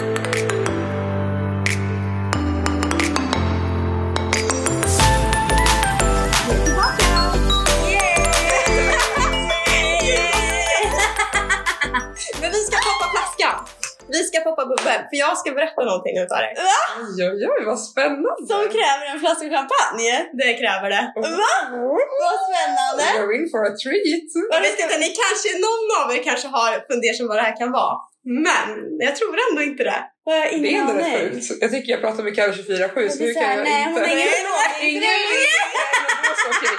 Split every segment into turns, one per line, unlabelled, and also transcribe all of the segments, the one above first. vi ska poppa bubbel för jag ska berätta någonting nu för dig.
Oj, oj, oj, vad spännande!
Som kräver en flaska champagne. Det kräver det. Va? Vad spännande!
We're Alltså, in for a treat!
Jag vet inte, ni kanske, någon av er kanske har funderat vad det här kan vara. Men jag tror ändå inte det. Har jag
Det är
ingen
ändå
aning.
rätt sjukt. Jag tycker jag pratar med Kalle 24-7 så
Det är
nu
så
kan
här,
jag
nej, hon har
inte...
ingen
aning! Ingen aning! Då så, alltså, okej.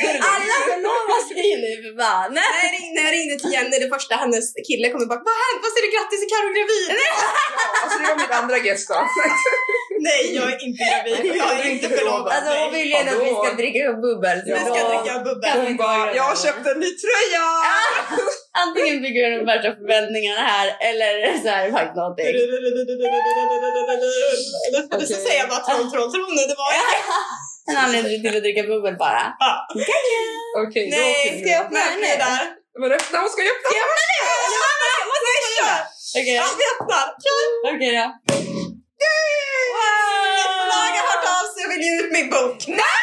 Då är det lugnt.
Alla som lovar sig nu för fan. När jag ringde, när jag ringde till Jenny, det första hennes kille kom och bara Vad hände? Vad säger du? Grattis är Carro gravid!
Ja, Alltså det var mitt andra gest då.
Nej jag är inte gravid. Jag är inte förlovad.
Alltså hon vill ju ändå att vi ska dricka upp bubbel. så
Vi ska
då-
dricka bubbel.
Hon bara,
Jag har köpt en ny tröja!
Antingen bygger hon upp värsta förväntningarna här eller så är det faktiskt någonting.
Okay. Så säger jag bara troll, troll, troll nu. Det var jag.
En anledning till att dricka bubbel bara.
Okej, då åker
Nej,
vi.
ska jag öppna
Nej,
öppna
nej.
där?
Men öppna, hon ska ju öppna!
Nej, kör!
Okej,
Ja, vi öppnar! Kör!
okej
Oh
då.
Mitt förlag har hört av sig och vill ge ut min bok. Nej!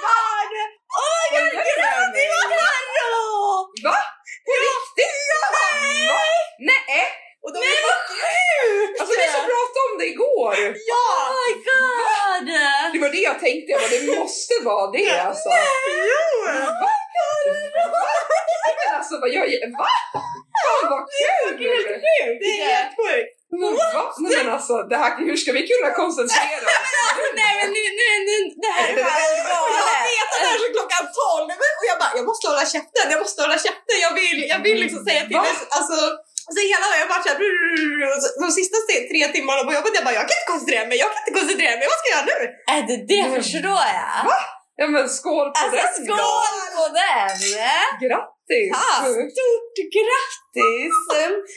Åh, jag gråter! Va? På riktigt? Va? Nej!
Och de är vad sjukt!
Alltså vi som pratade om det igår!
Ja!
Oh my god!
Det var det jag tänkte, jag bara, det måste vara det alltså. Men alltså vad jag... Va? Fan vad kul!
Det är helt sjukt!
Va? Nej men alltså, det här, hur ska vi kunna koncentrera oss?
Nej men nu, nu, nu, det här är helt
Jag
galet.
vet att det här är så klockan 12 och jag bara, jag måste hålla käften, jag måste hålla käften, jag vill, jag vill liksom säga till
Va?
dig. Alltså, så hela dagen, jag bara såhär, de sista se- tre timmarna på jobbet, jag bara, jag kan inte koncentrera mig, jag kan inte koncentrera mig, vad ska jag göra nu?
Äh, det, det förstår jag.
Ja men skål på
Alltså
den då!
skål på den!
Grattis!
Ah, stort grattis!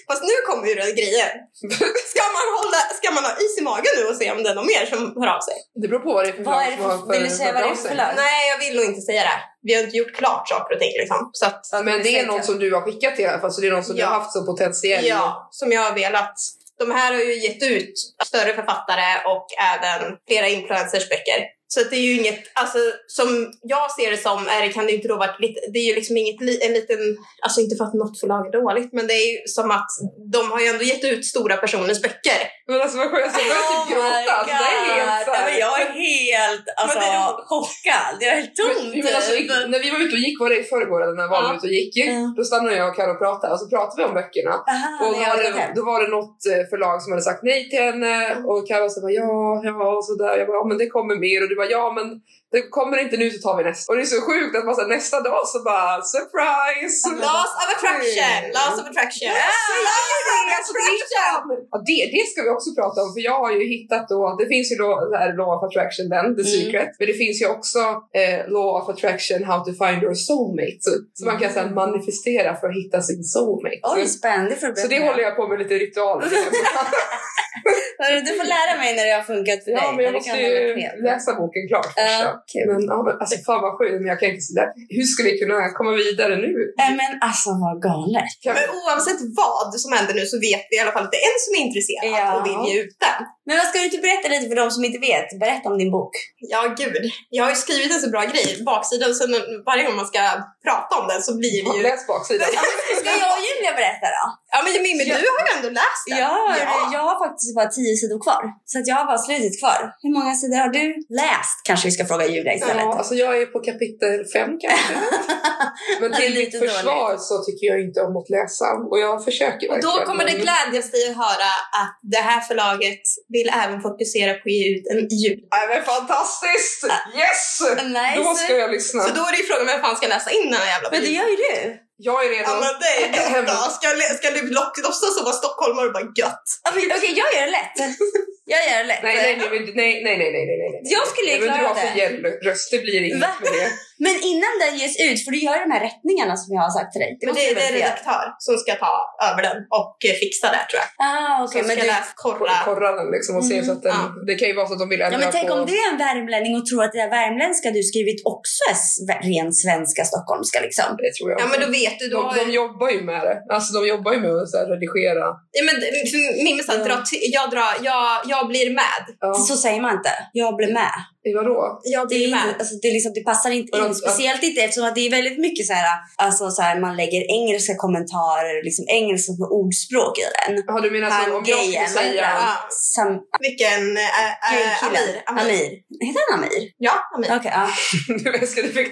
Fast nu kommer ju det grejer. Ska man, hålla, ska man ha is i magen nu och se om det är någon mer som hör av sig?
Det beror på vad det är för
Vad är
förlag som har
det för, vill du säga vad det är för
förlag.
förlag?
Nej, jag vill nog inte säga det. Vi har inte gjort klart saker och ting liksom. Så att,
Men det är någon som du har skickat till i alla fall, så det är någon som
Ja.
du har haft som potentiell.
ja, som jag har velat. De här har ju gett ut större författare och även flera influencers böcker. Så att det är ju inget, alltså som jag ser det som, är, det- kan det ju inte då varit lite, det är ju liksom inget, li- en liten, alltså inte för att något förlag är dåligt, men det är ju som att de har ju ändå gett ut stora personers böcker.
Men alltså vad skönt, jag ska börja
Oh
typ gråta. Alltså, det är helt
Ja, men
såhär.
jag är helt alltså,
Men det är roligt.
chockad. Jag är helt tom.
Men, men alltså,
typ.
när vi var ute och gick, var det i förrgår eller när var
Ja.
vi ute och gick?
Ja.
Då stannade jag och Karin och pratade och så pratade vi om böckerna.
Aha,
Och då
men jag
var,
är helt-
det, då var det något eh, förlag som hade sagt nej till henne
Mm.
och Karin sa bara, ja, ja och sådär. Jag bara, ja men det kommer mer och du bara ja men det kommer inte nu så tar vi nästa. Och det är så sjukt att man så här, nästa dag så bara surprise!
Laws of attraction! Laws of attraction!
Alltså, det är fan- Ja, det, det ska vi också prata om, för jag har ju hittat då, det finns ju då det här Law of Attraction, den, The
Mm.
Secret, men det finns ju också eh, Law of Attraction, How to find your soulmate, så, så man kan så här, manifestera för att hitta sin soulmate.
Oj, spännande för
så det håller jag på med lite ritualer.
Hörru, Du får lära mig när det har funkat för dig.
ja, men jag
Det
måste
kan vara
ju
knep.
läsa boken klart först.
Ja,
då. Men, ja, men, alltså, fan vad sjukt, men jag kan inte sådär. Hur ska vi kunna komma vidare nu?
Nej, men alltså vad galet.
Kan,
Men oavsett vad som händer nu så vet vi i alla fall att det är en som är intresserad
Ja.
och vill ge ut den.
Men vad ska du inte berätta lite för de som inte vet? Berätta om din bok.
Ja, gud. Jag har ju skrivit en så bra grej, baksidan, så nu- varje gång man ska prata om den så blir
ja,
vi ju...
läs baksidan.
Ska jag och Julia berätta då?
Ja, men Mimmi, du har ju ändå läst den.
Ja,
Ja.
jag har faktiskt bara tio sidor kvar. Så att jag har bara slutet kvar. Hur många sidor har du läst? Kanske vi ska fråga Julia istället.
Ja, alltså jag är på kapitel fem kanske. Men
Det är
till mitt
lite
försvar så tycker jag inte om att läsa och jag försöker
Och då
verkligen,
kommer det
men-
glädjas dig att höra att det här förlaget vill även fokusera på att ge ut en ljud.
Nej men fantastiskt! Yes!
Nice.
Då ska jag lyssna.
Så då är det ju frågan vem fan ska läsa in den här jävla
Men det gör ju du.
Jag är
Ja
redan...
men det är gött då. Ska, jag- ska du lock- låtsas som vara stockholmare och bara gött?
Ja, men Okej, jag gör det lätt. Jag gör det lätt.
Nej, nej, nej, men- nej, nej, nej, nej, nej, nej, nej.
Jag skulle ju
Nej, men du
klara
har
det.
för gäll röst, det blir inget
Va?
med det.
Men innan den ges ut, för du gör de här rättningarna som jag har sagt till dig.
men
måste
det,
du
det är
väl
en
få göra?
redaktör som ska ta över den och eh, fixa det tror jag.
Ah,
Som
okej. men
ska
du...
läsa, kolla.
Kor- Korra den liksom och se
Mm,
så att den...
ja.
Det kan ju vara så att de vill ändra
Ja, men tänk
på...
om du är en värmlänning och tror att det där värmländska du skrivit också är sve- ren svenska stockholmska liksom.
Det tror jag.
Ja men då vet du. Då har
de, de jobbar ju med det. Alltså de jobbar ju med att så här, redigera.
Ja, men, Mimmi sa
Ja.
dra till, jag, drar, jag, jag jag blir med.
Ja.
Så säger man inte. Jag blev med.
I Vadå?
Jag
Det, är
blir
inte,
med.
alltså, det, är liksom, det passar inte
Och de-
in. Speciellt inte eftersom att det är väldigt mycket så här, alltså, så här, man lägger engelska kommentarer, liksom engelska med ordspråk i den.
Har du menat
Han
som om jag skulle
gayen, vad heter
säga...
han?
Ja.
Sam,
Vilken? Äh, äh,
gaykillen.
Amir.
Amir.
Amir.
Heter han Amir?
Ja, Amir.
Okej, ja.
du älskar, du fick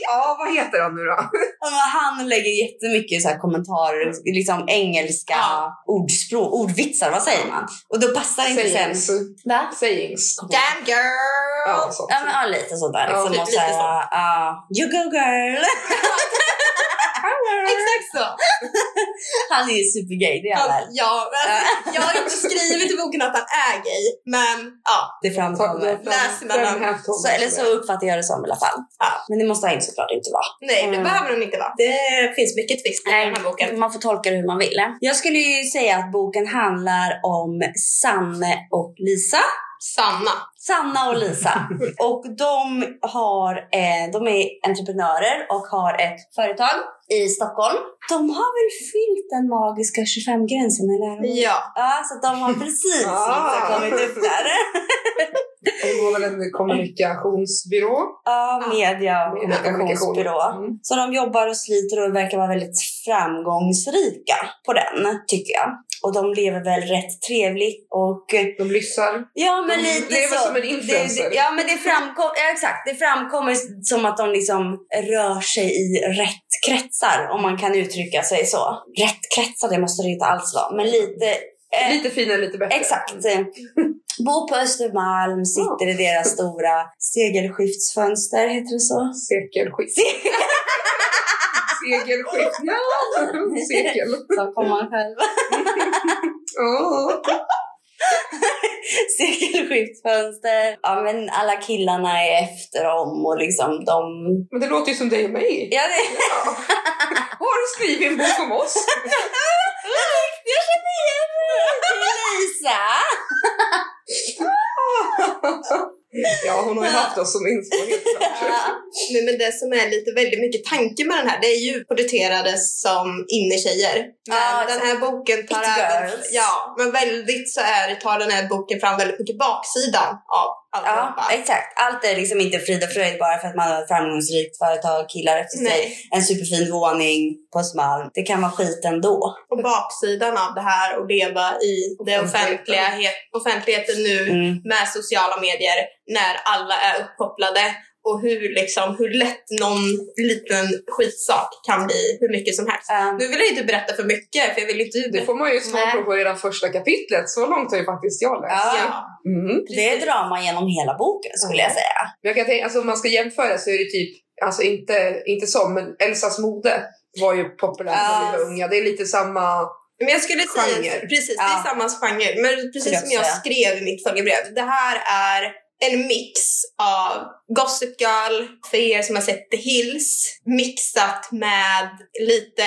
Ja, vad heter han nu då?
Ja, men Han lägger jättemycket så här kommentarer, liksom engelska
Ja.
ordspråk, ordvitsar, vad säger man? Och då passar inte
Sayings.
sen... Va?
Sayings.
Damn girl!
Ja, sånt.
Ja, men, ja, lite sånt där.
Ja,
Liksom,
typ
och
lite
så här, ja, you go girl!
Exakt så!
Han är ju supergay, det är han väl.
Ja, men, jag har inte skrivit i boken att han är gay, men ja.
Det framkommer.
Läs mellan.
Så, eller så uppfattar jag det som i alla fall.
Ja.
Men det måste han ju såklart inte vara.
Nej, det
Mm.
behöver hon inte vara. Det finns mycket twist i den här boken.
Man får tolka det hur man vill. Jag skulle ju säga att boken handlar om Sanne och Lisa.
Sanna.
Sanna och Lisa. Och de, har, eh, de är entreprenörer och har ett företag i Stockholm. De har väl fyllt den magiska 25-gränsen eller?
Ja.
Ja, så att de har precis liksom kommit upp där.
Det var väl en kommunikationsbyrå?
Ja, media och
Media-
kommunikationsbyrå.
kommunikation. Mm.
Så de jobbar och sliter och verkar vara väldigt framgångsrika på den, tycker jag. Och de lever väl rätt trevligt och eh,
De lyssnar.
ja, men
De
lite
lever
så.
som en influencer.
Det, det, ja, men det framkom, ja, exakt. Det framkommer som att de liksom rör sig i rätt kretsar, om man kan uttrycka sig så. Rätt kretsar, det måste det ju inte alls vara, men lite eh,
Lite finare, lite bättre. Mm.
Exakt. Bor på Östermalm, sitter i deras stora segelskiftsfönster, heter det så?
Sekelskift. Segelskift. Ja. Sekel.
Så kommer man själv.
Ja.
Segelskiftsfönster. Ja, men alla killarna är efter dem och liksom de...
Men det låter ju som dig och mig.
Ja, det...
Ja. Har du skrivit en bok om oss?
Jag känner igen mig! Lisa!
Ja, hon har ju haft oss som inspiration. helt klart.
Nej, men det som är lite väldigt mycket tanke med den här, det är ju porträtterades som innertjejer. Men
Ja,
den här boken tar
It
även...
girls.
Ja, men väldigt så är, tar den här boken fram väldigt mycket baksidan av
Ja,
alltihopa.
exakt. Allt är liksom inte frid och fröjd bara för att man har ett framgångsrikt företag, killar efter sig,
Nej.
en superfin våning på Östermalm. Det kan vara skit ändå.
Och baksidan av det här och leva i det offentliga, offentligheten nu
Mm.
med sociala medier när alla är uppkopplade och hur, liksom, hur lätt någon liten skitsak kan bli hur mycket som helst.
Ja.
Nu vill jag inte berätta för mycket för jag vill inte
Det får man ju svar på på redan första kapitlet. Så långt har ju faktiskt jag läst.
Ja.
Ja,
Mm.
det är drama genom hela boken skulle jag säga.
Men jag kan tänka, alltså, om man ska jämföra så är det typ, alltså inte, inte som, men Elsas mode var ju populär när vi
Ja.
var unga. Det är lite samma...
men jag skulle säga
Genre.
precis, det
Ja.
är samma genre. Men
Skulle
precis
jag
som jag
säga.
skrev i mitt följdbrev, det här är en mix av Gossip Girl, för er som har sett The Hills, mixat med lite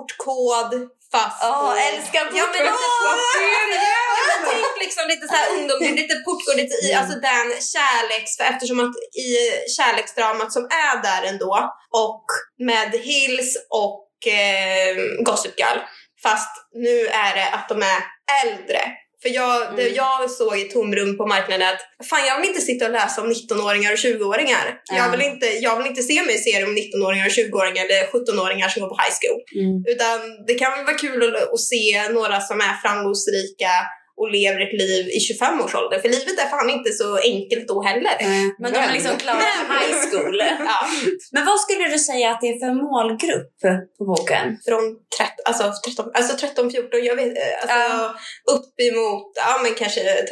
portkod, fast...
Åh,
och-
älskar
Ja, men åh! Jag
Placeringen!
tänkte liksom lite så här ungdom, det är lite portgård, lite i, alltså den kärleks... För eftersom att i kärleksdramat som är där ändå och med Hills och eh, Gossip Girl. Fast nu är det att de är äldre. För jag, det
Mm.
jag såg i tomrum på marknaden att fan jag vill inte sitta och läsa om 19-åringar och 20-åringar. Jag,
Mm.
vill inte, jag vill inte se mig i serier om 19-åringar och 20-åringar eller 17-åringar som går på high school.
Mm.
Utan det kan väl vara kul att, att se några som är framgångsrika och lever ett liv i 25 års ålder. För livet är fan inte så enkelt då heller.
Men de har liksom klarat high school.
Ja,
Men vad skulle du säga att det är för målgrupp på boken?
från 13, alltså 13, alltså 13 14, jag vet, eh, alltså,
Ja.
upp emot ja, men kanske 35-40.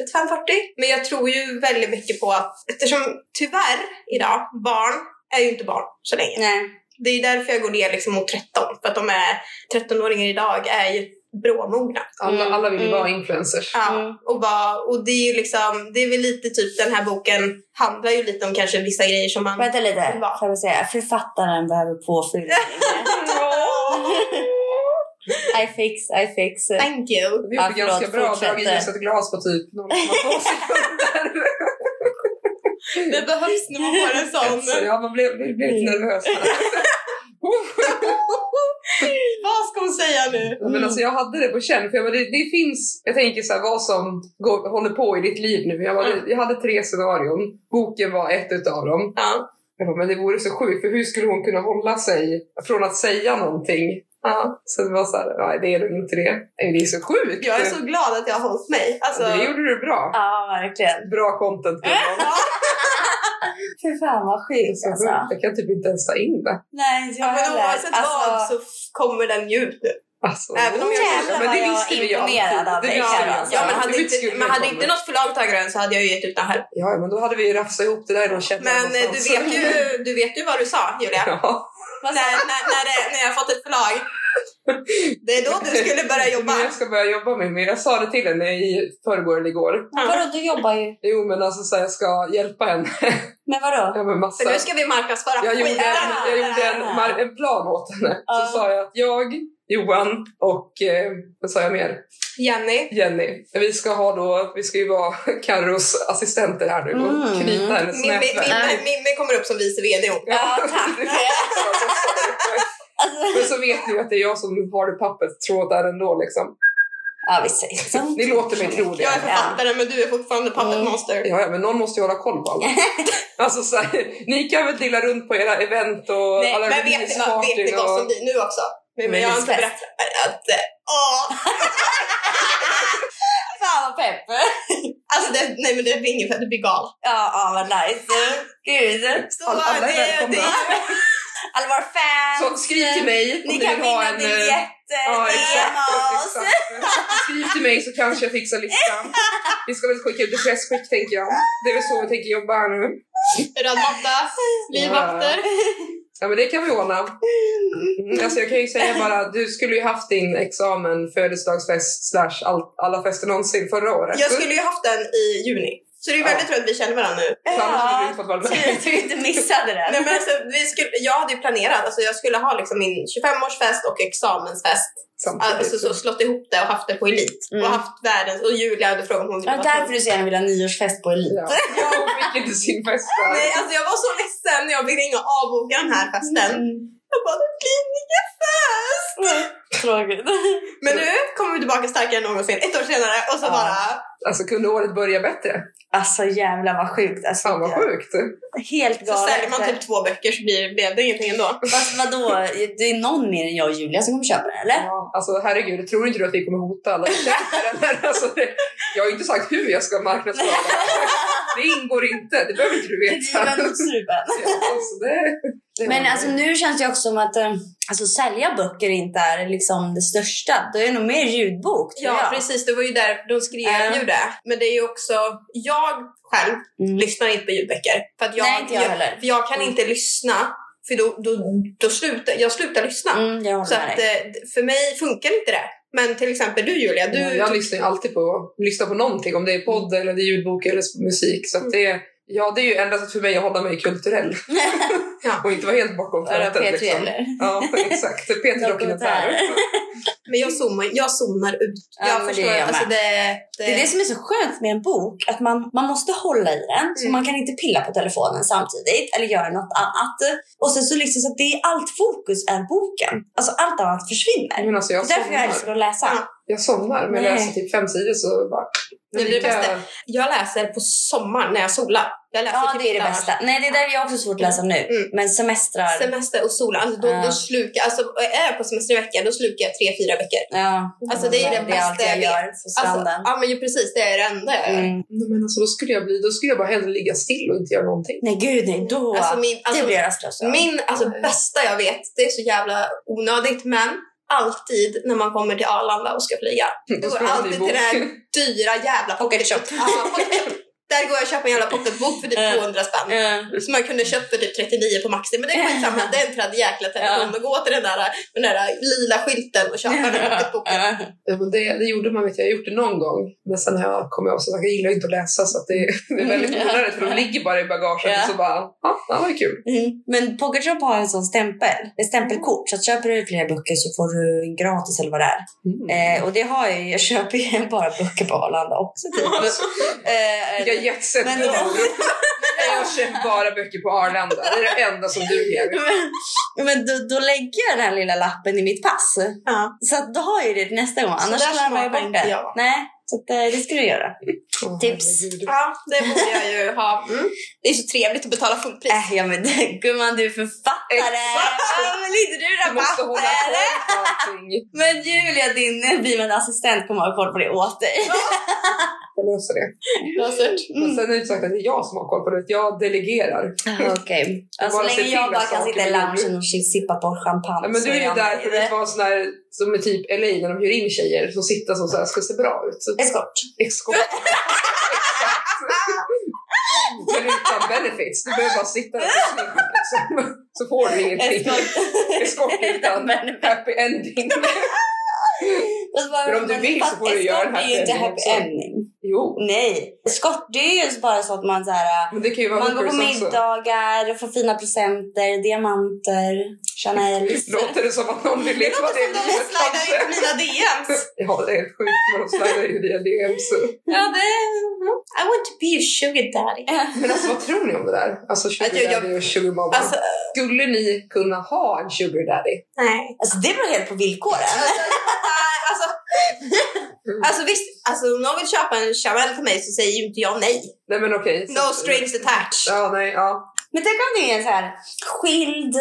Men jag tror ju väldigt mycket på att, eftersom tyvärr idag, barn är ju inte barn så länge.
Nej.
Det är därför jag går ner liksom mot 13, för att de är 13-åringar idag är ju bråmogna.
Alla, alla vill ju
Mm.
vara influencers.
Ja,
Mm.
och, vad, och det är ju liksom, det är väl lite typ den här boken handlar ju lite om kanske vissa grejer som man...
Vänta lite, får jag säga. Författaren behöver påfyllning. I fix, I fix.
Thank you!
Vi
Ja,
gjorde ganska
förlåt,
bra,
fortsätt.
dragit ljus ett glas på typ 0,2 sekunder.
Det behövs när man får en
Så ja,
Mm.
man blev, blev lite nervös. här.
Vad ska hon säga säga nu.
Men alltså jag hade det på känn, för jag bara, det, det finns, jag tänker så här, vad som går, håller på i ditt liv nu. Jag, bara,
Mm.
jag hade tre scenarion, boken var ett utav dem.
Ja.
Jag bara, men det vore så sjukt, för hur skulle hon kunna hålla sig från att säga någonting?
Ja.
Så det var så här, nej det är nog inte det. Nej, Det är så sjukt!
Jag är
alltså-
så glad att jag har hållit mig. Alltså,
Det gjorde du bra.
Ja, verkligen.
Bra content
Äh,
Gunnar.
Fy fan vad sjukt
Så
alltså.
sjukt, Jag kan typ inte ens ta in det.
Nej, inte jag
ja, men
heller. Alltså,
oavsett vad så f- kommer den ju ut nu.
Alltså,
Även om jag-
Ja, men det
Jävlar vad
visste
jag
vi ju alltid.
imponerad av
Det
dig,
visste vi
Karin.
alltid.
Ja, men
Det
hade
visste
inte,
vi
men hade
kommer.
inte något förlag tagit den så hade jag ju gett ut den här.
Ja, men då hade vi ju rafsat ihop det där i någon källare
Men eh, du
någonstans.
vet, ju, du vet ju vad du sa, Julia.
Ja.
Vad sa
när, när, när, det, när jag fått ett förlag. Det är då du skulle börja jobba.
Men jag ska börja jobba med mer. Jag sa det till henne i förrgår eller igår.
Men vadå, du jobbar ju.
Jo, men alltså så här, jag ska hjälpa henne
Men vadå?
med massa...
För nu ska vi marknadsföra
Jag gjorde, en,
skiten.
jag gjorde en, mar- en plan åt henne. Så
Ja.
sa jag att jag, Johan och, eh, vad sa jag mer?
Jenny.
Jenny. Vi ska ha då, vi ska ju vara Carros assistenter här nu och
Mm.
knyta hennes
Mimmi
nätverk.
Mimmi- Mimmi kommer upp som vice VD. hon.
Ja, tack. Alltså,
Men så vet ni ju att det är jag som har det pappret tråd där ändå liksom.
ja, vi säger liksom- så.
Ni låter mig tro det.
typ. Jag är författare men du är fortfarande
Mm.
puppetmonster.
Ja, ja, men någon måste ju hålla koll på alla. alltså, så här, ni kan väl dilla runt på era event och
Nej,
alla
Men vet ni vad, vet ni
releasepartyn
vad
och-
som blir nu också? Men,
Men
jag har
det
inte
är
berättat att... eh, Åh!
Fan vad pepp!
Alltså det, nej men det ringer för att du blir gal.
Ja, ja vad nice. Gud.
Så
Alla- alla är
det- det-
välkomna.
Alla våra fans.
Så skriv till mig om
Ni
ni
kan
vill ha
vinna
en... eh,
biljetter.
Ja, exakt,
DM oss.
exakt. Skriv till mig så kanske jag fixar listan. Vi ska väl skicka ut ett pressskick tänker jag. Det är väl så vi tänker jobba här nu.
Röd matta, livvakter.
Ja men det kan vi ordna. Mm, Alltså jag kan ju säga bara, du skulle ju haft din examen, födelsedagsfest slash all, alla fester någonsin förra året.
Jag skulle ju haft den i juni. Så det är ju väldigt roligt att vi känner varandra nu.
Så annars hade du
Ja,
inte fått vara med.
tur att Typ, du inte missade
Nej,
den.
men alltså, vi skulle, jag hade ju planerat, alltså, jag skulle ha liksom min 25-årsfest och examensfest.
Samtidigt.
Alltså så slått ihop det och haft det på elit.
Mm.
Och haft världens, och Julia hade frågat om hon ville
Ja,
vara
därför
med.
du så gärna vill ha nyårsfest på Elit.
Ja, jag fick inte sin fest
Nej,
där.
alltså jag var så ledsen när jag fick ringa och avboka den här festen.
Mm.
Jag bara, det blir ingen fest!
Tråkigt.
Men nu kommer vi tillbaka starkare än någonsin, ett år senare, och så
Ja.
bara...
Alltså kunde året börja bättre?
Alltså jävlar vad sjukt. Alltså,
Fan vad sjukt.
Helt
Så
galet.
säljer man typ två böcker så blir, blev det ingenting ändå.
Fast vadå, det är någon mer än jag och Julia som kommer köpa den eller?
Ja, alltså herregud, tror inte du att vi kommer hota alla klienter? eller? alltså, det, jag har inte sagt hur jag ska marknadsföra det. Det ingår inte, det behöver inte du veta.
Kniven mot strupen.
Ja, alltså, det, det
Men alltså nu känns det ju också som att eh, alltså, sälja böcker inte är liksom det största. Då är det nog mer ljudbok tror
Ja,
jag.
precis. Det var ju där de skrev
Ja.
ju det. Men det är ju också... Jag själv
Mm.
lyssnar inte på ljudböcker. För att jag,
Nej, inte jag heller.
För jag kan
Mm.
inte lyssna, för då, då, då slutar jag slutar lyssna.
Mm, jag håller
Så
med
att,
dig.
eh, för mig funkar inte det. Men till exempel du Julia, du... Mm.
jag lyssnar ju alltid på, lyssnar på någonting, om det är podd eller det är ljudbok eller musik. Så att det, ja, det är ju enda sättet för mig att hålla mig kulturell
Ja.
och inte vara helt bakom
eh,
Vadå,
flötet.
P3
Liksom.
eller?
Ja, exakt. P3 Dokumentärer.
Men jag zoomar, jag zoomar ut.
Ja,
jag
men det
förstår.
gör jag
alltså, det, det,
Det är det som är så skönt med en bok, att man, man måste hålla i den, så
Mm.
man kan inte pilla på telefonen samtidigt eller göra något annat. Och sen så liksom så att det är allt fokus är boken. Alltså allt annat
Mm.
försvinner.
Men alltså,
Det
jag
är därför jag
somnar.
älskar att läsa.
Ja.
Jag somnar, men
Nej.
läser typ fem sidor så bara...
Det är det
Lika-
bästa. Jag läser på sommaren när jag solar. Jag läser
Ja,
typ
det Alltså, är
inte
det
annars.
bästa. Nej, det är där jag har också svårt att läsa nu.
Mm.
Men semestrar.
Semester och solar, alltså då,
Ja.
då slukar alltså, är jag på semestervecka då slukar jag tre, fyra veckor.
ja.
Alltså, det är det
Mm, är
bästa
allt jag
jag
gör på
Alltså,
stranden.
ja men ju precis, det är det enda jag gör.
mm.
Nej, men alltså, då, skulle jag bli, då skulle jag bara hellre ligga still och inte göra någonting.
Nej, gud nej. Mm, Då.
Alltså, min, alltså,
det blir Mm. jag rastlös av.
Min alltså, bästa jag vet, det är så jävla onödigt, men alltid när man kommer till Arlanda och ska flyga.
Då
Jag går
skulle jag bli
alltid till den
bok.
här dyra jävla pocketshop. Ja, pocketshop. Där går jag och köper en jävla pocketbok för
Mm.
typ 200 spänn.
Mm.
Som man kunde köpt för typ 39 på Maxi. Men det är skitsamma, det är en tredje jäkla tradition att gå till den där, den där lila skylten och köpa den här pocketboken.
Mm.
Ja, Eh, men det, det gjorde man, vet jag, jag gjort det någon gång. Men sen har jag kommit av så jag gillar inte att läsa så att det, det är väldigt
Ja.
onödigt för de ligger bara i bagaget
Mm. Ja.
och så bara, ja, det var kul.
Mm. Men Pocketshop har en sån stämpel, ett stämpelkort. Så att köper du flera böcker så får du en gratis eller vad det är.
Mm.
Eh, och det har jag ju. Jag köper ju bara böcker på Arlanda också. Typ.
Vilka
eh,
jetset
Men-
du har.
men
jag köper bara böcker på Arlanda. Det är det enda som duger.
Men, men då, då lägger jag den här lilla lappen i mitt pass.
Ja.
Så att då har jag ju det nästa gång.
Så
Annars
där
slarvar jag
smakar
bort
inte
det.
jag.
Nej, så att, eh, det ska du göra.
Åh,
Tips.
herregud.
Ja, det borde jag ju ha. Mm. Det är så trevligt att betala fullpris.
Äh, ja men gumman du är författare!
Exakt.
Ja, men inte du
Du
där
måste hålla
papper!
koll på allting.
Men Julia, din eh, blivande assistent kommer ha koll på det åt dig.
Jag löser det. Men
Mm.
sen är det inte sagt att det är jag som har koll på det. Jag delegerar.
Ah, Okej. Ja, Så
Bara se
länge jag
till
bara
att
kan
saker
sitta i
blir
loungen och chi- sippa på champagne
Ja, men
så
du är ju
jag
där
nöjd.
för att vara sån där som är typ LA när de hyr in tjejer som sitter så så här ska se bra ut. Så,
Eskort.
Eskort. Exakt. Men utan benefits. Du behöver bara sitta där och snygg, liksom. Så får du ingenting.
Eskort.
Eskort utan
Men-
happy ending.
Och så bara-
Men om du vill så får du
fast
göra en
eskort är ju inte
happy
happy
ending också.
ending.
Jo,
Nej. Eskort det är ju bara så att man så här,
men det kan ju vara
man går på
hookers också.
middagar, och får fina presenter, diamanter, Chanel.
Låter det som att någon vill leva det livet kanske?
mina DMs.
Ja, det är helt sjukt vad de slajdar in i dina DMs.
Ja, det... mm. I want to be a sugar daddy.
Men alltså vad tror ni om det där? Alltså sugar
Att jag- jag-
daddy och sugar mama.
Alltså,
Skulle ni kunna ha en sugar daddy?
nej.
Alltså det beror helt på villkoren.
Nej, alltså, alltså visst, alltså, om någon vill köpa en Chanel till mig så säger ju inte jag nej.
Nej men okej.
No strings attached.
Ja, nej, ja.
Men tänk om det är en så här skild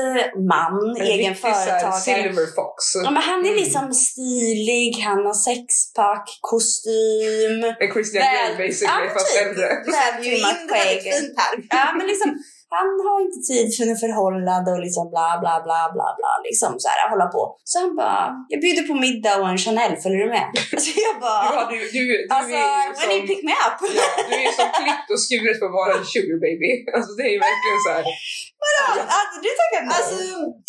man,
En
egen
riktig så här
företagare.
Silver fox.
Ja, men han är
Mm.
liksom stilig, han har sexpack, kostym.
En Christian
Väl-
Grey basically,
ja,
fast
typ.
äldre.
Väver ju in det väldigt
Skägg.
fint här.
Ja, men liksom, han har inte tid för en förhållande och liksom bla bla bla bla bla. Liksom så här, hålla på. Så han bara, jag bjuder på middag och en Chanel, följer du med? Så jag
Du,
bara,
hade, ju- du, du
alltså
är ju
when you
som,
pick me up.
ja, du är ju som klippt och skuret för att vara en sugar baby. Alltså det är ju verkligen så här.
Alltså, du tackar nej.
Alltså,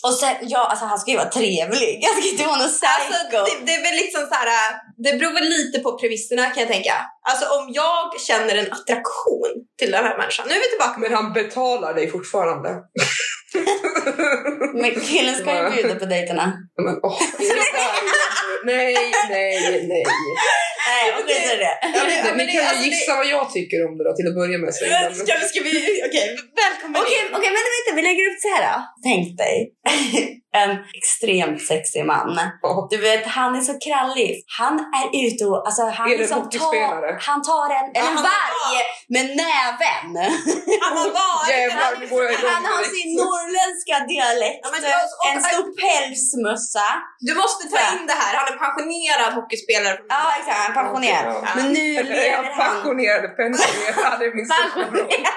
och sen, ja, alltså han ska ju vara trevlig. Han ska inte vara någon
alltså
psycho.
det, det är väl liksom så här, äh, det beror väl lite på premisserna kan jag tänka. Alltså om jag känner en attraktion till den här människan. Nu är vi tillbaka med
Men han betalar dig fortfarande.
Men killen ska ju bjuda på dejterna.
Men åh, det är det här igen? nej, nej, nej.
Nej, och skit i det.
Ja, men- ja,
Ni
men det-
kan
alltså,
ju
det-
gissa vad jag tycker om det då till att börja med. så innan-
Ska vi, ska vi, okej, välkommen
Okej,
in.
okej, vänta, vänta, vi lägger upp så här då. Tänk dig en extremt sexig man.
Ja.
Du vet, han är så krallig. Han är ute och, alltså han
Är det
liksom
hockeyspelare?
tar, han tar en,
Ja,
en
han-
varg med näven.
Han har liksom- varit
Jävlar, nu går jag igång
Han har
direkt.
sin norrländska dialekt,
Ja, men jag- och-
en stor pälsmössa.
Du måste ta in det här, han är pensionerad hockeyspelare.
Ja, exakt, han är pensionerad.
Ja.
Men nu
Eller är
lever
han
han
passionerad pensionerad? Det är min stora fråga.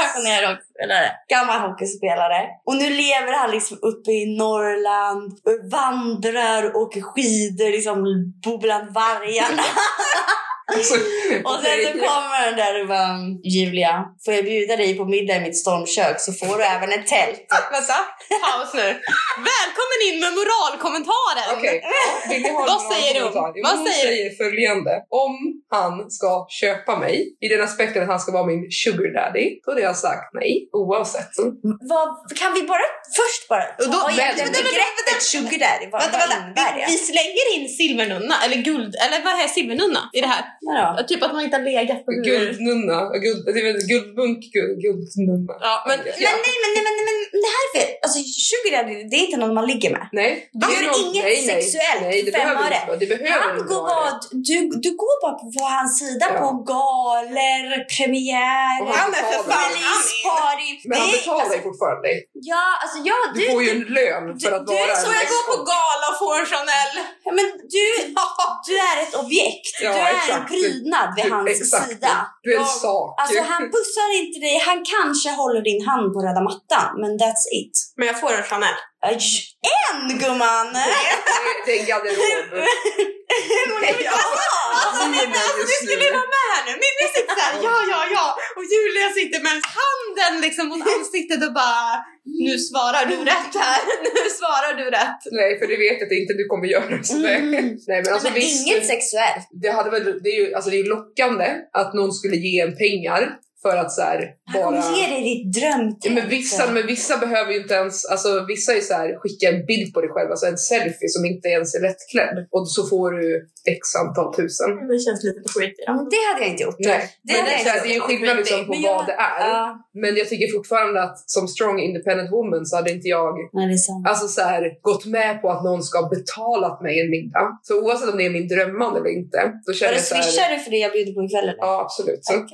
Pensionerad hockeyspelare. Gammal hockeyspelare. Och nu lever han liksom uppe i Norrland, vandrar, åker skidor, liksom bor bland vargarna.
Alltså,
Och sen så kommer den där och bara Julia, får jag bjuda dig på middag i mitt stormkök så får du även ett tält.
Vänta, paus nu. Välkommen in med moralkommentaren!
Okej, ja, vill ni ha en
Vad
annan
säger du?
kommentar? Jo,
Vad
hon
säger du?
säger följande. Om han ska köpa mig i den aspekten att han ska vara min sugar daddy, då hade jag sagt nej oavsett.
Mm. Vad, kan vi bara först bara
Och då-
ta igen
vänta,
begreppet sugar daddy? Vad,
Vänta,
vad
vänta.
innebär
Vi,
det?
vi slänger in silvernunna, eller guld, eller vad är silvernunna i det här?
Vadå?
Typ att man inte har legat på hur...
Guldnunna, guld, det är väl guldmunk, guld, guldnunna.
Ja, men
Ja.
Men nej, men, nej, men, nej, men det här är fel. Alltså sugar daddy, det är inte någon man ligger med.
Nej,
Du gör
någon-
inget sexuellt
nej, det
för fem
behöver
öre.
inte vara- Det behöver
Han
inte
går
vara det.
bara, du, du går bara på hans sida
Ja.
på galor,
Och
premiärer,
Han är för fan Amin.
releaseparty.
Men han
Nej,
betalar
alltså,
ju fortfarande dig.
Ja, alltså ja,
Du, får ju en lön för
du-
att
du
vara
är
en
som
Så jag går på
expert.
gala och får en Chanel.
Ja, Men du, du är ett objekt.
Ja,
du är en
exakt.
prydnad vid
Du-
hans
exakt.
sida.
Du är en
Ja,
sak.
Alltså han pussar inte dig. Han kanske håller din hand på röda mattan, men that's it.
Men jag får en Chanel.
Aj, En gumman!
Det är en garderob.
Alltså, ni, alltså, ni skulle ju vara med här nu. Ni, ni sitter såhär, ja, ja, ja. Och Julia sitter med handen liksom mot ansiktet och bara, nu svarar du rätt här. Nu svarar du rätt.
Nej, för det vet jag att inte du kommer göra. Så det.
Mm.
Nej, men alltså
men
visst.
inget sexuellt.
Det, hade väl, det, är ju, alltså, det är ju lockande att någon skulle ge en pengar För att så här,
Han
bara...
kommer ge dig ditt
Ja,
drömtält.
men, vissa, men vissa behöver ju inte ens, alltså vissa är så här, skicka en bild på dig själv, alltså en selfie som inte ens är lättklädd. Och så får du x antal tusen.
Det känns lite skit i
Mm, Det hade jag inte gjort.
Nej,
Det
men det,
är
är så här, det är ju skillnad liksom på
Men jag-
vad det är.
Ja,
Men jag tycker fortfarande att som strong independent woman så hade inte jag
nej, det är sant.
alltså så här, gått med på att någon ska ha betalat mig en middag. Så oavsett om det är min drömman eller inte, då
Var
känner
det
jag så här,
swishar du för det jag bjuder på ikväll eller?
Ja, absolut. Så.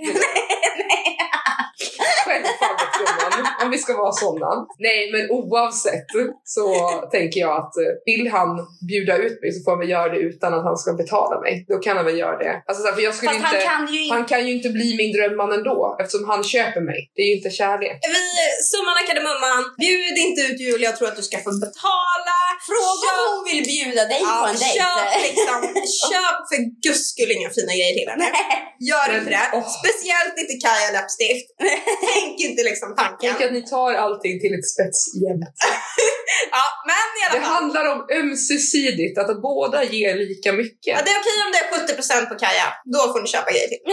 Självfallet gumman, om vi ska vara sådana. Nej, men oavsett så tänker jag att eh, vill han bjuda ut mig så får han väl göra det utan att han ska betala mig. Då kan han väl göra det. Alltså, så här, för jag skulle
Fast han
inte,
kan ju inte...
han kan ju inte bli min drömman ändå eftersom han köper mig. Det är ju inte kärlek.
Vi, summan av kardemumman, bjud inte ut Julia, jag tror att du ska få betala.
Fråga om
Köp-
hon vill bjuda dig på
Ja,
en
köp,
dejt.
liksom, köp för guds skull inga fina grejer till henne. Gör inte det.
åh.
Speciellt inte Kaja läppstift. Tänk inte liksom tanken.
Tänk att ni tar allting till ett spets jämt.
Ja, men i
Det
alla fall.
handlar om ömsesidigt, att båda ger lika mycket.
Ja, det är okej om det är 70% på Kaja. Då får ni köpa grejer till.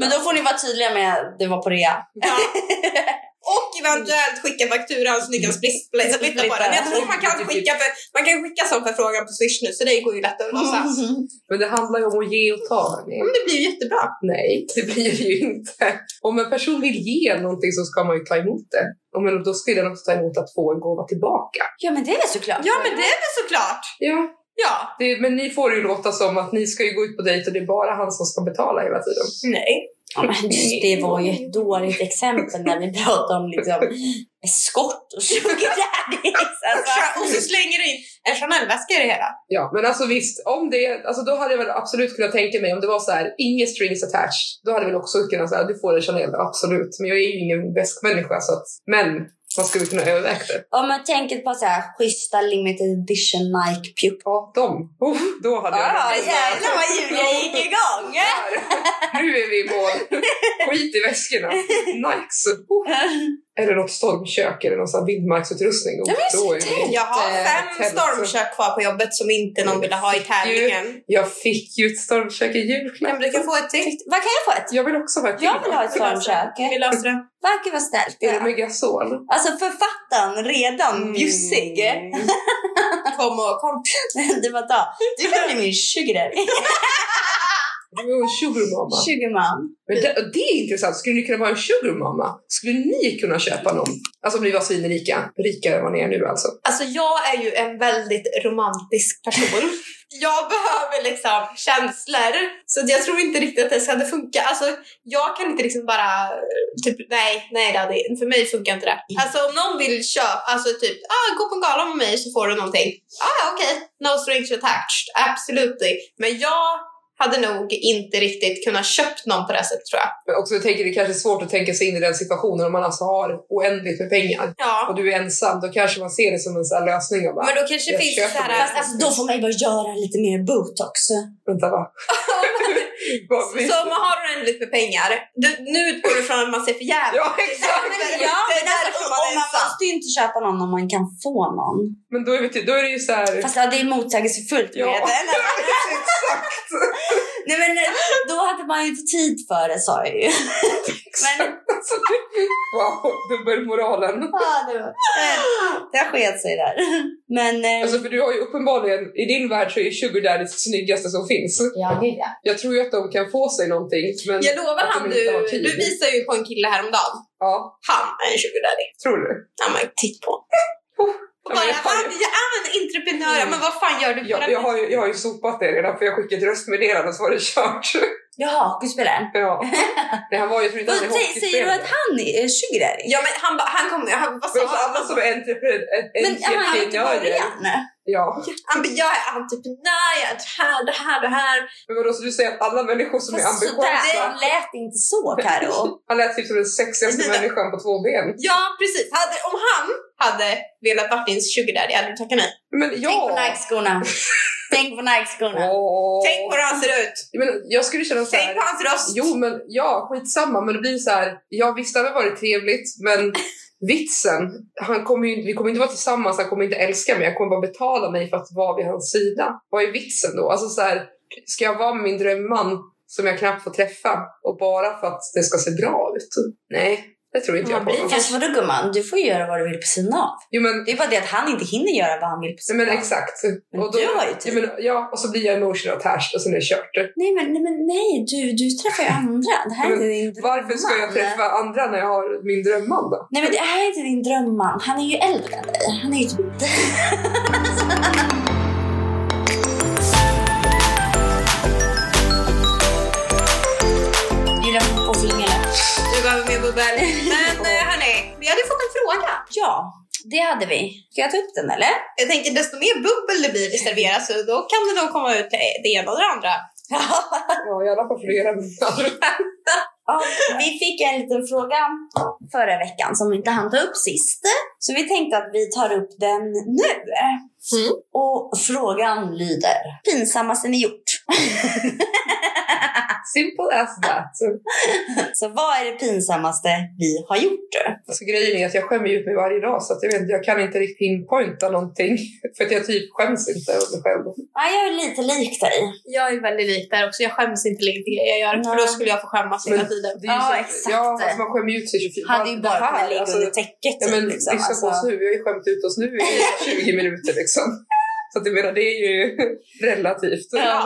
Men då får ni vara tydliga med att det var på rea.
Ja. Och eventuellt skicka fakturan så ni kan splis- splis- splitta på den. Jag tror man kan skicka, för, man kan skicka sån förfrågan på Swish nu så det går ju lätt att lösa.
Men det handlar ju om att ge och ta. hörni.
Men det blir ju jättebra.
Nej, det blir det ju inte. Om en person vill ge någonting så ska man ju ta emot det. Och men då ska den också ta emot att få en gåva tillbaka.
Ja men det är väl såklart.
Ja, men det är väl såklart.
Ja,
Ja.
det, men ni får det ju låta som att ni ska ju gå ut på dejt och det är bara han som ska betala hela tiden.
Nej.
Ja, men just det var ju ett dåligt exempel när vi pratade om liksom skott och sugar daddies. Alltså,
Och så slänger du in en Chanel-väska i det hela.
Ja, men alltså visst, om det, alltså då hade jag väl absolut kunnat tänka mig om det var så här, inga strings attached, då hade jag väl också kunnat säga du får en Chanel, absolut. Men jag är ju ingen väskmänniska så att, men man skulle kunna överväga det.
om man tänker på så här schyssta limited edition Nike Puke.
Ja, dem. Oh, då hade jag
Ja,
varit där.
jävlar vad Julia gick igång!
Där. Nu är vi i mål. Skit i väskorna. Nikes. Oh. Eller något stormkök eller någon sån här vildmarksutrustning. Oh,
Ja, men
då är
så
vi.
Jag har
Eh,
fem
tält.
stormkök kvar på jobbet som inte någon ville ha i tävlingen.
Jag fick ju ett stormkök i
Men
julklapp.
du kan få ett till.
Vad kan jag få ett?
Jag vill också ha ett
Jag vill ha ett
Vi
stormkök.
löser det.
Verkar vara snällt.
Är det med gasol?
Alltså författaren redan bjussig.
Mm.
Kom och kom.
Du bara ta. Du kan bli min sugar daddy.
Du är en sugar mama.
Sugar mom.
Men det, det är intressant. Skulle ni kunna vara en sugar mama? Skulle ni kunna köpa någon? Alltså om ni var svinrika. Rikare än vad ni är nu alltså.
Alltså jag är ju en väldigt romantisk person. Jag behöver liksom känslor. Så att jag tror inte riktigt att det skulle funka. Alltså jag kan inte liksom bara... eh, Typ, nej, nej det hade, för mig funkar inte det.
Mm.
Alltså om någon vill köpa, alltså typ ah, gå på en gala med mig så får du någonting. Ah, okej, no strings attached, absolutely. Men jag hade nog inte riktigt kunnat köpt någon på det sättet tror jag.
Men också jag tänker det kanske är svårt att tänka sig in i den situationen om man alltså har oändligt med pengar.
Ja,
och du är ensam, då kanske man ser det som en sån här lösning och bara,
men då kanske det
Jag
finns
köper
så här...
det.
Fast alltså, då får man ju bara göra lite mer botox.
vänta va? Vad
Så om man har oändligt med pengar, du, nu utgår du från att man ser för jävligt
Ja exakt!
Ja,
Det är
men alltså,
därför man är
man, man
ensam.
måste ju inte köpa någon om man kan få någon.
Men då är, vi till, då är det ju så här...
Fast ja, det är motsägelsefullt med
Ja.
det. Eller? Nej, men eh, då hade man ju inte tid för det sa jag ju. Men
Alltså, wow, dubbelmoralen.
ja, det, var, det sket sig där. Men... eh,
Alltså för du har ju uppenbarligen, i din värld så är sugar daddies snyggaste som finns.
ja, gud ja.
Jag tror ju att de kan få sig någonting men
Jag lovar
Att
han
de
du,
inte har tid.
du visar ju på en kille häromdagen.
ja,
Han är en sugar daddy.
tror du?
Ja men titt på honom. Och
Ja, men
bara,
jag,
han,
har, ju-
ja, han är en entreprenör,
Mm.
men vad fan gör du på
jag,
den?
jag, har ju, jag har ju sopat det redan för jag skickade ett röstmeddelande så var det kört.
Jaha, hockeyspelaren.
Ja. Nej, han var ju, jag tror inte han är
Vad säger- Säger du
hockeyspelare.
att han är sugar daddy?
Ja men han, bara- han kommer, han, vad
Men
sa
också alla
han?
som är entreprenörer.
Men han är göteborgaren.
Ja.
Han bara, jag är entreprenör, jag är det här, det här, det här.
Men vadå, så du säger att alla människor som är
Fast sådär
ambitiösa...
lät inte så Karo.
Han lät typ som den sexigaste människan på två ben.
Ja precis, hade, om han hade velat varit din sugar daddy hade du tackat nej.
Men
Tänk på
ja...
Nike-skorna. Tänk på Nike-skorna.
Åh.
Tänk på hur han ser ut,
men jag skulle känna så
tänk
här...
på hans röst.
Jo, men ja, skitsamma. Men det blir så här... Ja, visst, det hade varit trevligt, men vitsen... Han kommer ju, vi kommer inte vara tillsammans, han kommer inte älska mig. Han kommer bara betala mig för att vara vid hans sida. Vad är vitsen då? Alltså så här... Ska jag vara med min drömman som jag knappt får träffa. Och bara för att det ska se bra ut. Nej, det tror inte
Man
jag på.
blir
alls.
Fast vadå gumman, du får ju göra vad du vill på sidan av.
Jo men,
Det är bara det att han inte hinner göra vad han vill på
nej,
sidan
men
av.
exakt.
Men
och då,
du har ju
ja,
typ- tid.
men, ja, och så blir jag emotional attached och sen är det kört.
Nej men nej, men nej du, du träffar ju andra. Det här är
Men
inte din drömman.
Varför ska jag träffa andra när jag har min drömman då?
Nej men det här är inte din drömman. Han är ju äldre än dig. Han är ju typ Gillar fotbollslinjen eller?
Du behöver mer bubbel. Men eh, hörni, vi hade fått en fråga.
Ja, det hade vi. Ska jag ta upp den eller?
Jag tänker desto mer bubbel det blir serveras, så då kan det nog komma ut det ena och det andra.
Ja, i alla fall flera månader.
Ja, vi fick en liten fråga förra veckan som vi inte hann ta upp sist. Så vi tänkte att vi tar upp den nu.
Mm.
Och frågan lyder. Pinsammaste ni gjort?
Simple as that.
Så vad är det pinsammaste vi har gjort?
Alltså, grejen är att jag skämmer ut mig varje dag så att jag, vet, jag kan inte riktigt pinpointa någonting. För att jag typ skäms inte över mig själv.
Ja, jag är lite lik dig.
Jag är väldigt lik där också. Jag skäms inte lika det jag gör, för då
Nej.
skulle jag få skämmas hela
Men-
tiden.
Det är ju
Ja,
så-
exakt.
Ja, alltså, man skämmer ut sig 24
Hade ju
Det
bara
här,
kunnat ligga
alltså,
under täcket.
Ja,
typ,
men
liksom.
lyssna på oss
Alltså,
nu. Vi har ju skämt ut oss nu i 20 minuter liksom. Så att jag menar, det är ju relativt.
Ja.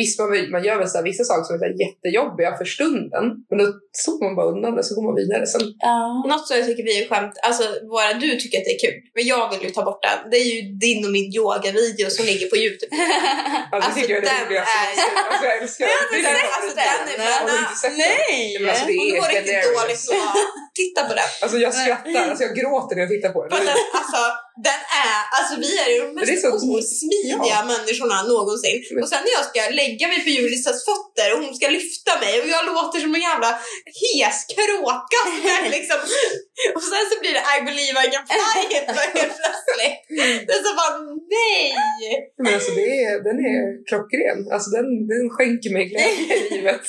Visst, man, man gör väl så här, vissa saker som är så här jättejobbiga för stunden. Men då sover man bara undan det så går man vidare. Sen,
ja.
Något som jag tycker vi är skämt, alltså våra, du tycker att det är kul, men jag vill ju ta bort den. Det är ju din och min yogavideo som ligger på Youtube.
alltså,
Alltså,
det tycker jag är
den
det roligaste. Alltså, jag älskar den. Det är
sett-
den.
alltså, den är
Jag har inte sett den.
Nej!
Men alltså, det
Om du
är
mår riktigt
hilarious.
dåligt så titta på den.
Alltså jag skrattar, alltså jag gråter när jag tittar på
För
den.
att den, alltså, den är, alltså vi är ju de
det är
mest
så-
osmidiga
ja.
människorna någonsin.
Men-
Och sen när jag ska lägga mig på Julisas fötter och hon ska lyfta mig och jag låter som en jävla hes kråka. som är liksom. Och sen så blir det I believe I can fly helt plötsligt. Det är så bara nej!
Men alltså det är, den är klockren. Alltså den, den skänker mig glädje i livet.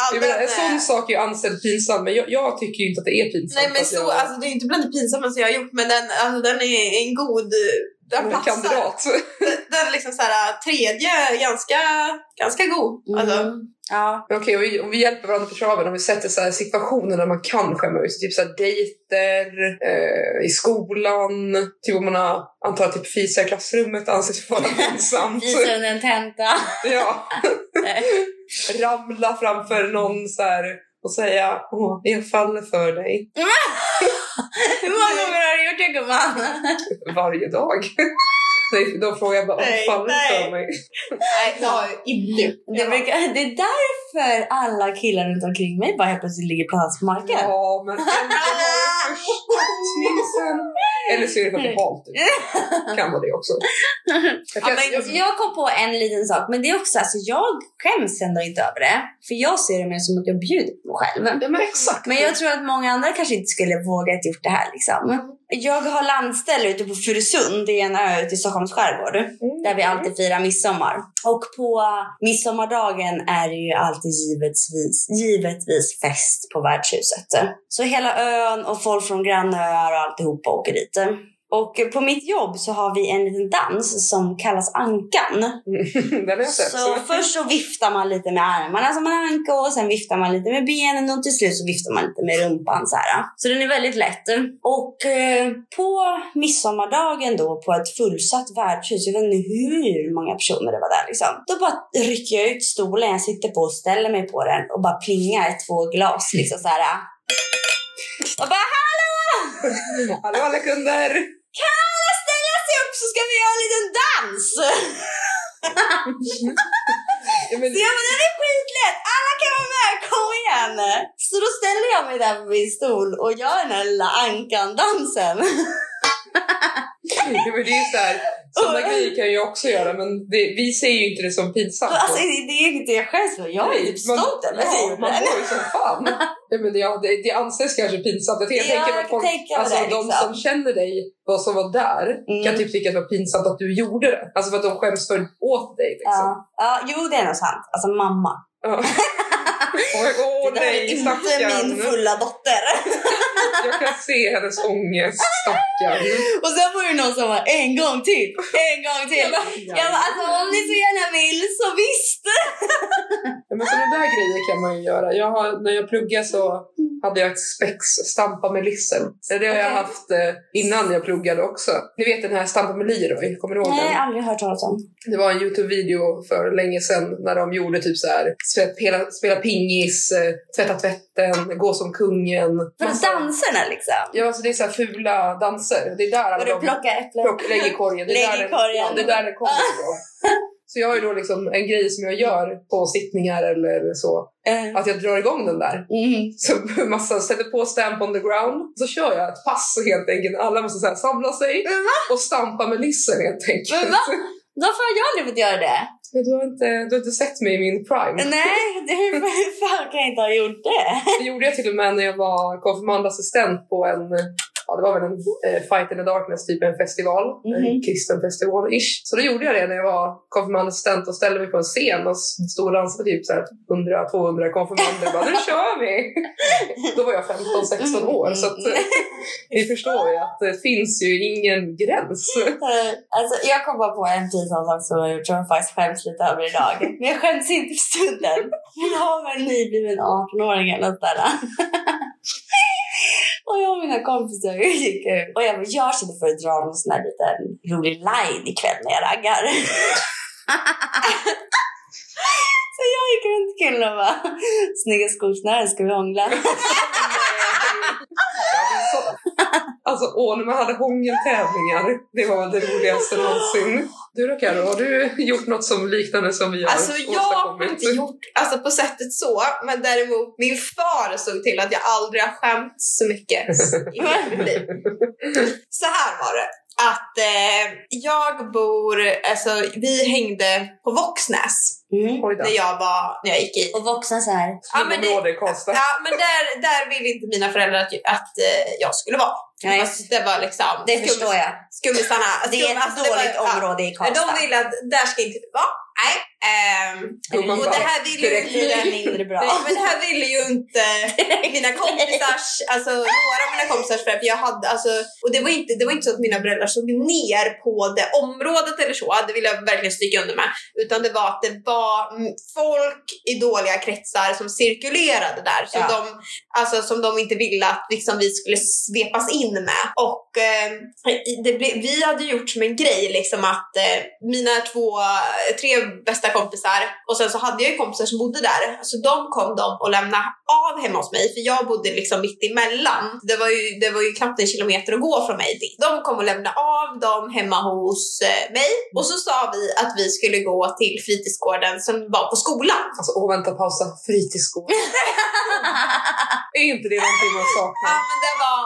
Ja,
Jag menar,
den
en
är-
sån sak är ju ansedd pinsam, men jag, jag tycker ju inte att det är pinsamt.
Nej men
att
så,
jag,
alltså det är inte bland det pinsammaste jag har gjort men den, alltså, den är en god, den
jag är
platsar.
kandidat.
Den, den är liksom såhär tredje, ganska, ganska god. Alltså,
Mm. Ja.
Men Okej, om vi, om vi hjälper varandra på traven, om vi sätter så här situationer där man kan skämma ut sig. Typ så här dejter, eh, i skolan, typ om man har, antar att typ fisa i klassrummet anses vara pinsamt.
Visa under en tenta.
ja.
Nej.
Ramla framför någon så här och säga Åh, jag faller för dig
Hur många gånger har du gjort det gumman?
varje dag. Nej, då frågar jag bara,
Nej,
"Åh, faller
nej.
du för mig?
nej det har jag inte gjort.
Det, brukar, det är därför alla killar runt omkring mig bara helt plötsligt ligger pladask på marken.
Ja, men ändå har du första snipsen. Eller så är det för att det är halt ut. Kan vara det också. Jag
Ja,
kan,
men-
jag,
Jag kom på en liten sak, men det är också alltså jag skäms ändå inte över det. För jag ser det mer som att jag bjuder på mig själv.
ja, men exakt.
Men jag tror att många andra kanske inte skulle vågat gjort det här
Mm.
liksom. Jag har landställe ute på Furusund, det är en ö ute i Stockholms skärgård.
Mm,
Där vi alltid firar midsommar. Och på midsommardagen är det ju alltid givetvis, givetvis fest på värdshuset. Så hela ön och folk från grannöar och alltihopa åker dit. Och på mitt jobb så har vi en liten dans som kallas ankan.
Mm, Den har jag sett.
Så först så viftar man lite med armarna som en anka och sen viftar man lite med benen och till slut så viftar man lite med rumpan så här. Så den är väldigt lätt. Och eh, på midsommardagen då på ett fullsatt värdshus, jag vet inte hur många personer det var där liksom. Då bara rycker jag ut stolen jag sitter på och ställer mig på den och bara plingar två glas liksom så här. Och bara
Hallå alla kunder!
alla ställer sig upp så ska vi göra en liten dans!
Ja, men,
Så jag bara, den är skitlätt! Alla kan vara med, kom igen! Så då ställer jag mig där på min stol och gör den här lilla ankan-dansen.
ja, men det är ju så här, sådana grejer kan jag också göra men det, vi ser ju inte det som pinsamt.
Alltså det det är inte jag själv som jag är
Nej,
typ
man-
stolt över
Ja, man
det.
mår ju som fan. Ja, men ja, det, det anses kanske pinsamt. Jag, tänker- jag
Ja,
tänker
jag
att folk,
tänker på
alltså,
det,
de
liksom.
som känner dig, de som var där,
Mm.
kan typ tycka att det var pinsamt att du gjorde det. Alltså för att de skäms för åt dig. Liksom.
Ja, ja, jo det är nog sant. Alltså mamma.
Ja. Och jag går, åh
det där är
nej,
inte
stackarn.
min fulla dotter.
Jag kan se hennes ångest, stackarn.
Och sen var det någon som var en gång till, en gång till. Jag bara, alltså om ni så gärna vill så visst.
Ja, Men sådana där grejer kan man ju göra. Jag har, när jag pluggade så hade jag ett spex, stampa med lissel. Det har jag
Okej.
haft eh, innan jag pluggade också. Ni vet den här stampa med Leroy, kommer du ihåg den?
aldrig hört talas om.
Det var en Youtube-video för länge sedan när de gjorde typ så här, svett, spela, spela pingis, eh, tvätta tvätten, gå som kungen.
För danserna liksom.
Ja, alltså det är så här fula danser. Det är där alla
Och du
de...
plockar äpplen.
Plock, lägg i korgen. Det är
Lägg i
där den-
korgen.
Ja, det är där det kommer ifrån. Så jag har ju då liksom en grej som jag gör på sittningar eller så.
Eh,
Att jag drar igång den där.
Mm.
Så massa sätter på stamp on the ground. Så kör jag ett pass helt enkelt. Alla måste så här samla sig
Men
och stampa med lissen helt enkelt.
Men va? Varför har jag aldrig fått göra det?
Du, har inte, du har inte sett mig i min prime.
Nej, det- hur fan kan jag inte ha gjort det?
Det gjorde jag till och med när jag var konfirmandassistent på en Ja, det var väl en eh, Fight in the Darkness, typ en festival. En
Mhm.
kristen festival-ish. Så då gjorde jag det när jag var konfirmandassistent och ställde mig på en scen och stod och dansade med typ så här 100-200 konfirmander. och bara, nu kör vi! då var jag 15-16 år så att, eh, ni förstår ju att det finns ju ingen gräns.
Eh, Alltså, jag kom bara på en pinsam sak som jag har gjort som jag faktiskt skäms lite över idag. Men jag skäms inte för stunden. Men jag var en nybliven 18-åring eller något där. Och jag och mina kompisar vi gick ut och jag bara, jag känner för att dra någon sån här liten rolig line ikväll när jag raggar. Så jag gick runt till killen och bara, snygga skosnören ska vi hångla?
Alltså, Alltså åh, när man hade hångeltävlingar. Det var det roligaste någonsin. Du då Karo, har du gjort något som liknande som vi har
Alltså jag har inte gjort, alltså på sättet så, men däremot min far såg till att jag aldrig har skämt så mycket i mitt liv. Så här var det. Att eh, jag bor, alltså vi hängde på Våxnäs
Mm.
Oj då.
när jag var, när jag gick i.
Och vuxna så här,
Ja, men det-
Slumområde i Karlstad.
Ja men där, där ville inte mina föräldrar att, att eh, jag skulle vara.
Nej.
Fast Det var liksom
det
skum-
förstår jag.
skummisarna.
Det är ett
Alltså, det var-
dåligt
ja.
område i
Nej,
Karlstad.
De ville att där ska inte du vara. Nej. ehm,
Gumman
och
bara,
det här ville ju
direkt.
inte...
mindre
Ja, men det här ville ju inte mina kompisars, alltså några av mina kompisars föräldrar. för Jag hade, alltså, och det var, inte, det var inte så att mina föräldrar såg ner på det området eller så, det vill jag verkligen stryka under med. Utan det var att det var mm, folk i dåliga kretsar som cirkulerade där. Som,
Ja.
de, alltså, som de inte ville att liksom, vi skulle svepas in med. Och eh, det ble, vi hade gjort som en grej liksom att eh, mina två, tre bästa kompisar och sen så hade jag ju kompisar som bodde där. Så de kom de och lämnade av hemma hos mig för jag bodde liksom mitt emellan. Det var ju, det var ju knappt en kilometer att gå från mig dit. De kom och lämnade av dem hemma hos eh, mig och så sa vi att vi skulle gå till fritidsgården som var på skolan.
Alltså, åh vänta, pausa. Fritidsgård. är inte det någonting man
Ja,
saknar?
men det var...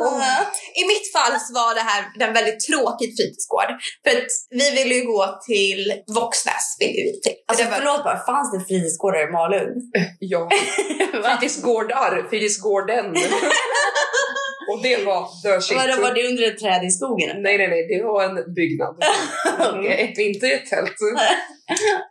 Ja. I mitt fall så var det här en väldigt tråkig fritidsgård. För att vi ville ju gå till Våxnäs. Ville vi till.
Alltså
det var,
förlåt bara, fanns det fritidsgårdar i Malung?
Ja. Fritidsgårdar. Fritidsgården. Och det var the shit.
Vadå, var det under ett träd i skogen?
Nej, nej, nej. Det var en byggnad.
Okej.
Mm, inte ett tält.
Mm.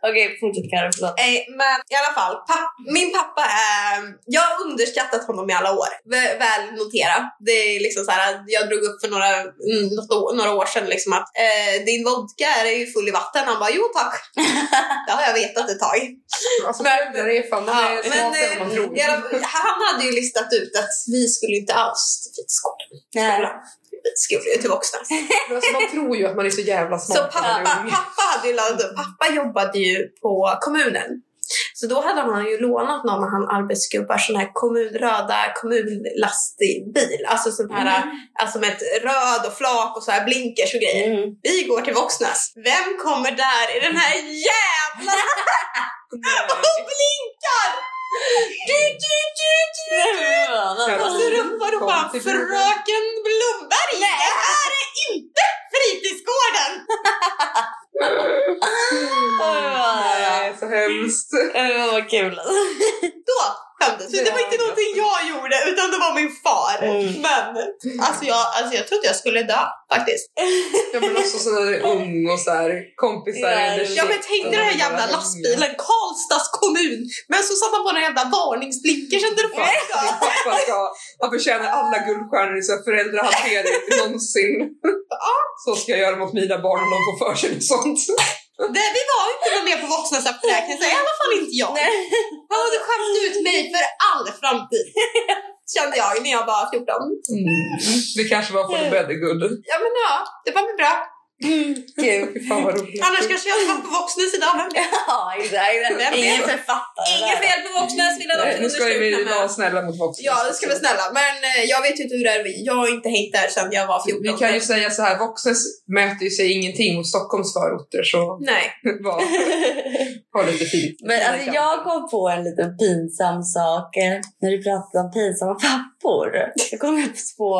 Okej, fortsätt Carro, förlåt.
Nej, men i alla fall. Papp, min pappa är... Jag har underskattat honom i alla år. Vä- Väl notera. Det är liksom så här, jag drog upp för några, mm, något år, några år sedan liksom att eh, din vodka är ju full i vatten. Han bara, jo tack. det har jag vetat ett tag.
Alltså,
Men-
föräldrar är fan, de är
Ja,
smartare än
eh,
man tror.
i alla fall, han hade ju listat ut att vi skulle inte alls till fritidsgården.
Nej.
Vi skulle ju till Våxnäs.
Alltså, man tror ju att man är så jävla smart.
Så
när man är
pappa,
ung.
pappa hade ju laddat upp. Pappa jobbade ju på kommunen. Så då hade han ju lånat någon av hans arbetsgubbar sån här kommunröda kommunlastbil. Alltså sån här,
Mm.
alltså med ett röd och flak och så här blinkers och grejer.
Mm.
Vi går till Våxnäs. Vem kommer där i den här jävla och blinkar? Du, du, du, du. Och så ropar
Kom
hon bara
till
Fröken Blomberg! Det här är inte fritidsgården!
Nej, så hemskt.
Vad kul alltså.
Då skämdes Så det var inte någonting jag gjorde utan det var min far.
Mm.
Men alltså jag, alltså jag trodde jag skulle dö faktiskt.
Ja men också så när du är ung och så här, kompisar.
Ja,
under
Ja men tänk dig den här jävla lastbilen, Karlstads kommun. Men så satte han på den här jävla varningsblinkern kände du fan.
Din pappa ska, han förtjänar alla guldstjärnor i så här föräldrahantering någonsin. Så ska jag göra mot mina barn om de får för sig något sånt.
Det, vi var inte någon mer på vuxnas uppräkning, så i alla fall inte jag.
Nej.
Han hade skämt ut mig för all framtid. Kände jag när jag var 14.
Mm. Det kanske var för the better good.
Ja men ja, det var väl bra.
Kul.
Fy fan vad roligt.
Annars kanske jag hade varit på Våxnäs idag. Vem vet?
Ja, exakt.
vet?
Ingen författare.
Inget fel på Våxnäs vill jag
Nej,
också
Nu ska vi
understryka, men-
vara snälla mot vuxna.
Ja, det ska vi vara snälla. Men eh, jag vet ju inte hur det är. Jag har inte hängt där sedan jag var 14.
Alltså, Vi kan ju säga så här, Voxnäs mäter ju sig ingenting mot Stockholms förorter så
Nej.
var, var lite fint.
Men alltså jag kom på en liten pinsam sak eh, när du pratade om pinsamma pappor. Då kom jag på,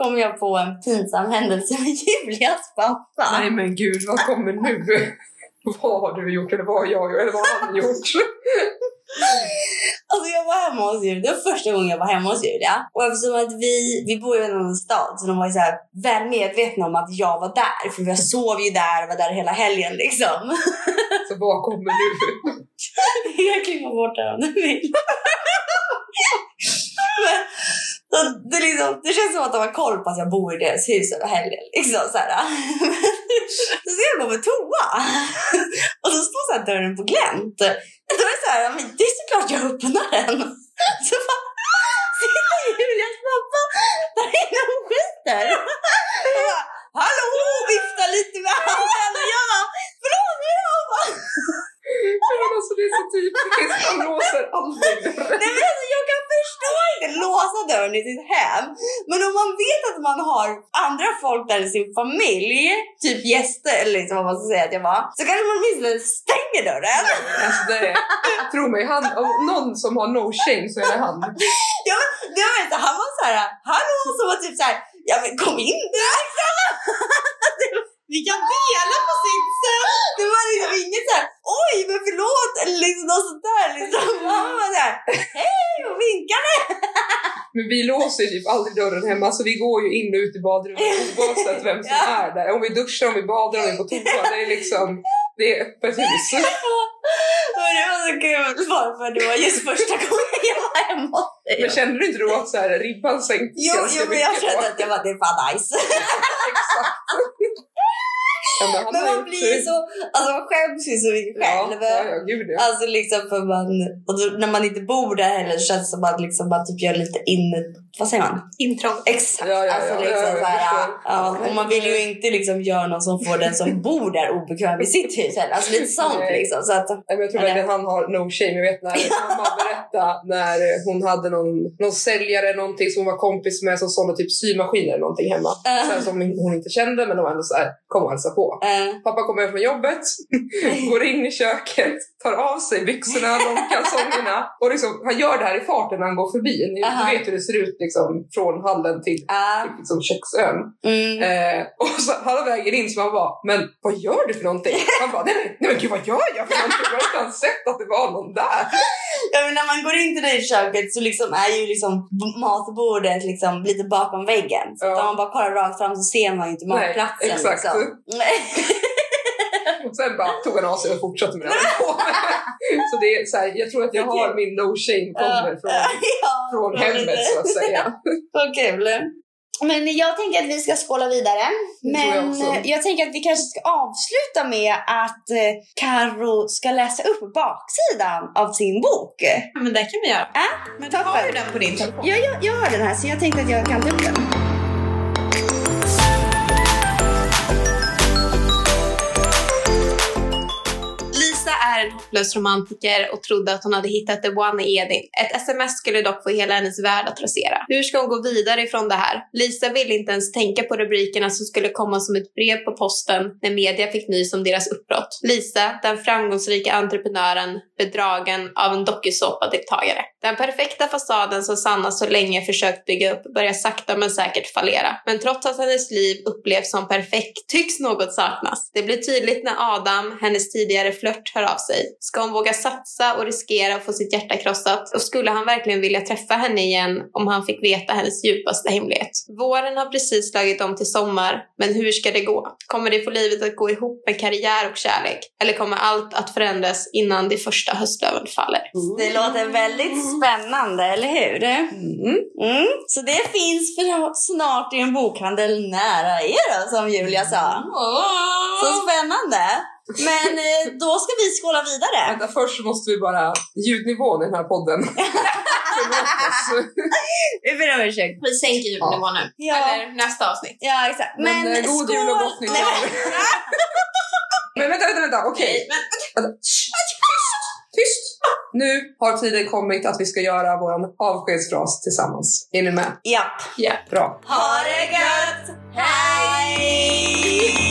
kom jag på en pinsam händelse med Julias pappa.
Nej men gud, vad kommer nu? Vad har du gjort eller vad har jag gjort eller vad har han gjort?
Alltså jag var hemma hos Julia, det var första gången jag var hemma hos Julia. Och eftersom att vi, vi bor ju i en annan stad så de var ju så här väl medvetna om att jag var där. För jag sov ju där och var där hela helgen liksom.
Så vad kommer nu?
Jag klipper bort det här om du vill. Men, så det, liksom, det känns som att de har koll på att jag bor i deras hus över helgen. Liksom, så, här. så ska jag gå på toa. Och så står så här dörren på glänt. Då är det så här, ja, men det är såklart jag öppnar den. Så bara sitter Julias pappa där inne och skiter. Och bara, Hallå! Viftar lite med handen. Och jag bara, förlåt, jag bara,
Ja, Men alltså det är så typiskt, han låser aldrig dörren.
Nej men alltså jag kan förstå inte låsa dörren i sitt hem. Men om man vet att man har andra folk där i sin familj, typ gäster eller liksom vad man ska säga att jag var, så kanske man åtminstone stänger dörren.
Alltså det är, tro mig, han, om någon som har no shame så är det han.
Det var inte, han var såhär, hallå, som var typ såhär, ja men kom in du liksom.
Vi kan dela på sitt sätt.
Det var liksom inget såhär, oj men förlåt eller liksom något sånt där liksom. Han var såhär, hej och vinkade.
Men vi låser typ aldrig dörren hemma så vi går ju in och ut i badrummet oavsett vem som är där. Om vi duschar, om vi badar, om vi är på toa. Det är liksom, det är öppet hus.
Och det var så kul bara för det var just första gången jag var hemma hos dig.
Men känner du inte då att så här, ribban sänktes
Jo, jo, men jag
mycket
kände
då?
att jag bara, det är fan nice.
Exakt. Ja, men han
Men
har
man
gjort
blir ju
det.
så, alltså man skäms ju så mycket
Ja,
själv.
ja, ja, gud ja.
Alltså liksom för man, och då, när man inte bor där heller så känns det som att liksom man typ gör lite in, vad säger man?
Intrång.
Exakt.
Ja, ja, ja,
alltså
ja,
liksom
ja, jag
så här,
förstår.
ja, och man vill ju inte liksom göra någon som får den som bor där obekväm i sitt hus heller. Alltså lite sånt
Nej.
liksom. Så att,
Nej, men jag tror
Eller?
verkligen han har no shame. Jag vet när mamma berättade när eh, hon hade någon, någon säljare någonting som hon var kompis med som sålde typ symaskiner eller någonting hemma.
äh,
Så här, som hon inte kände men de var ändå såhär, kom och hälsa på.
äh,
Pappa kommer hem från jobbet, går in i köket, tar av sig byxorna, långkalsongerna och liksom, han gör det här i farten när han går förbi. Ni
Aha.
vet hur det ser ut liksom, från hallen till
äh,
liksom, köksön.
mm.
Eh, och så halva vägen in så man bara, men vad gör du för någonting? Han bara, nej, nej, nej men gud vad gör jag för någonting? Jag har inte ens sett att det var någon där.
Ja, men när man går in till det i köket så liksom är ju liksom b- matbordet liksom lite bakom väggen. Så
Ja.
att om man bara kollar rakt fram så ser man ju inte matplatsen.
Nej, exakt.
Liksom.
Och sen bara tog han av sig och fortsatte med det han höll på med. Så det är så här, jag tror att jag har min no shame kommer från,
ja,
från hemmet så att säga.
Vad kul. Men jag tänker att vi ska skåla vidare.
Det tror jag
Men
också.
jag, jag tänker att vi kanske ska avsluta med att eh, Karo ska läsa upp baksidan av sin bok.
Ja, men det kan vi göra.
Äh,
Men du
toppen.
har ju den på din telefon.
Ja, jag, jag har den här så jag tänkte att jag kan ta upp den.
Lisa är en hopplös romantiker och trodde att hon hade hittat the one i Edin. Ett sms skulle dock få hela hennes värld att rasera. Hur ska hon gå vidare ifrån det här? Lisa ville inte ens tänka på rubrikerna som skulle komma som ett brev på posten när media fick nys om deras uppbrott. Lisa, den framgångsrika entreprenören, bedragen av en dokusåpadeltagare. Den perfekta fasaden som Sanna så länge försökt bygga upp börjar sakta men säkert fallera. Men trots att hennes liv upplevs som perfekt tycks något saknas. Det blir tydligt när Adam, hennes tidigare flört, hör av sig. Ska hon våga satsa och riskera att få sitt hjärta krossat? Och skulle han verkligen vilja träffa henne igen om han fick veta hennes djupaste hemlighet? Våren har precis slagit om till sommar, men hur ska det gå? Kommer det få livet att gå ihop med karriär och kärlek? Eller kommer allt att förändras innan det första höstlöven faller?
Det låter väldigt spännande, eller hur?
Mm.
Mm. Så det finns för snart i en bokhandel nära er, som Julia sa. Så spännande! Men eh, då ska vi skåla vidare.
Vänta, först måste vi bara... Ljudnivån i den här podden. Förlåt oss.
Vi ber om ursäkt.
Vi sänker ljudnivån nu.
Ja,
Eller nästa avsnitt.
ja exakt.
Men, eh, god jul och gott nytt
Nej,
år. Men vänta, vänta, vänta. Okej.
men...
Vänta. Shh. Tyst, Tyst! Nu har tiden kommit att vi ska göra vår avskedsfras tillsammans. Är ni med?
Ja.
Bra.
Ha det gött! Hej!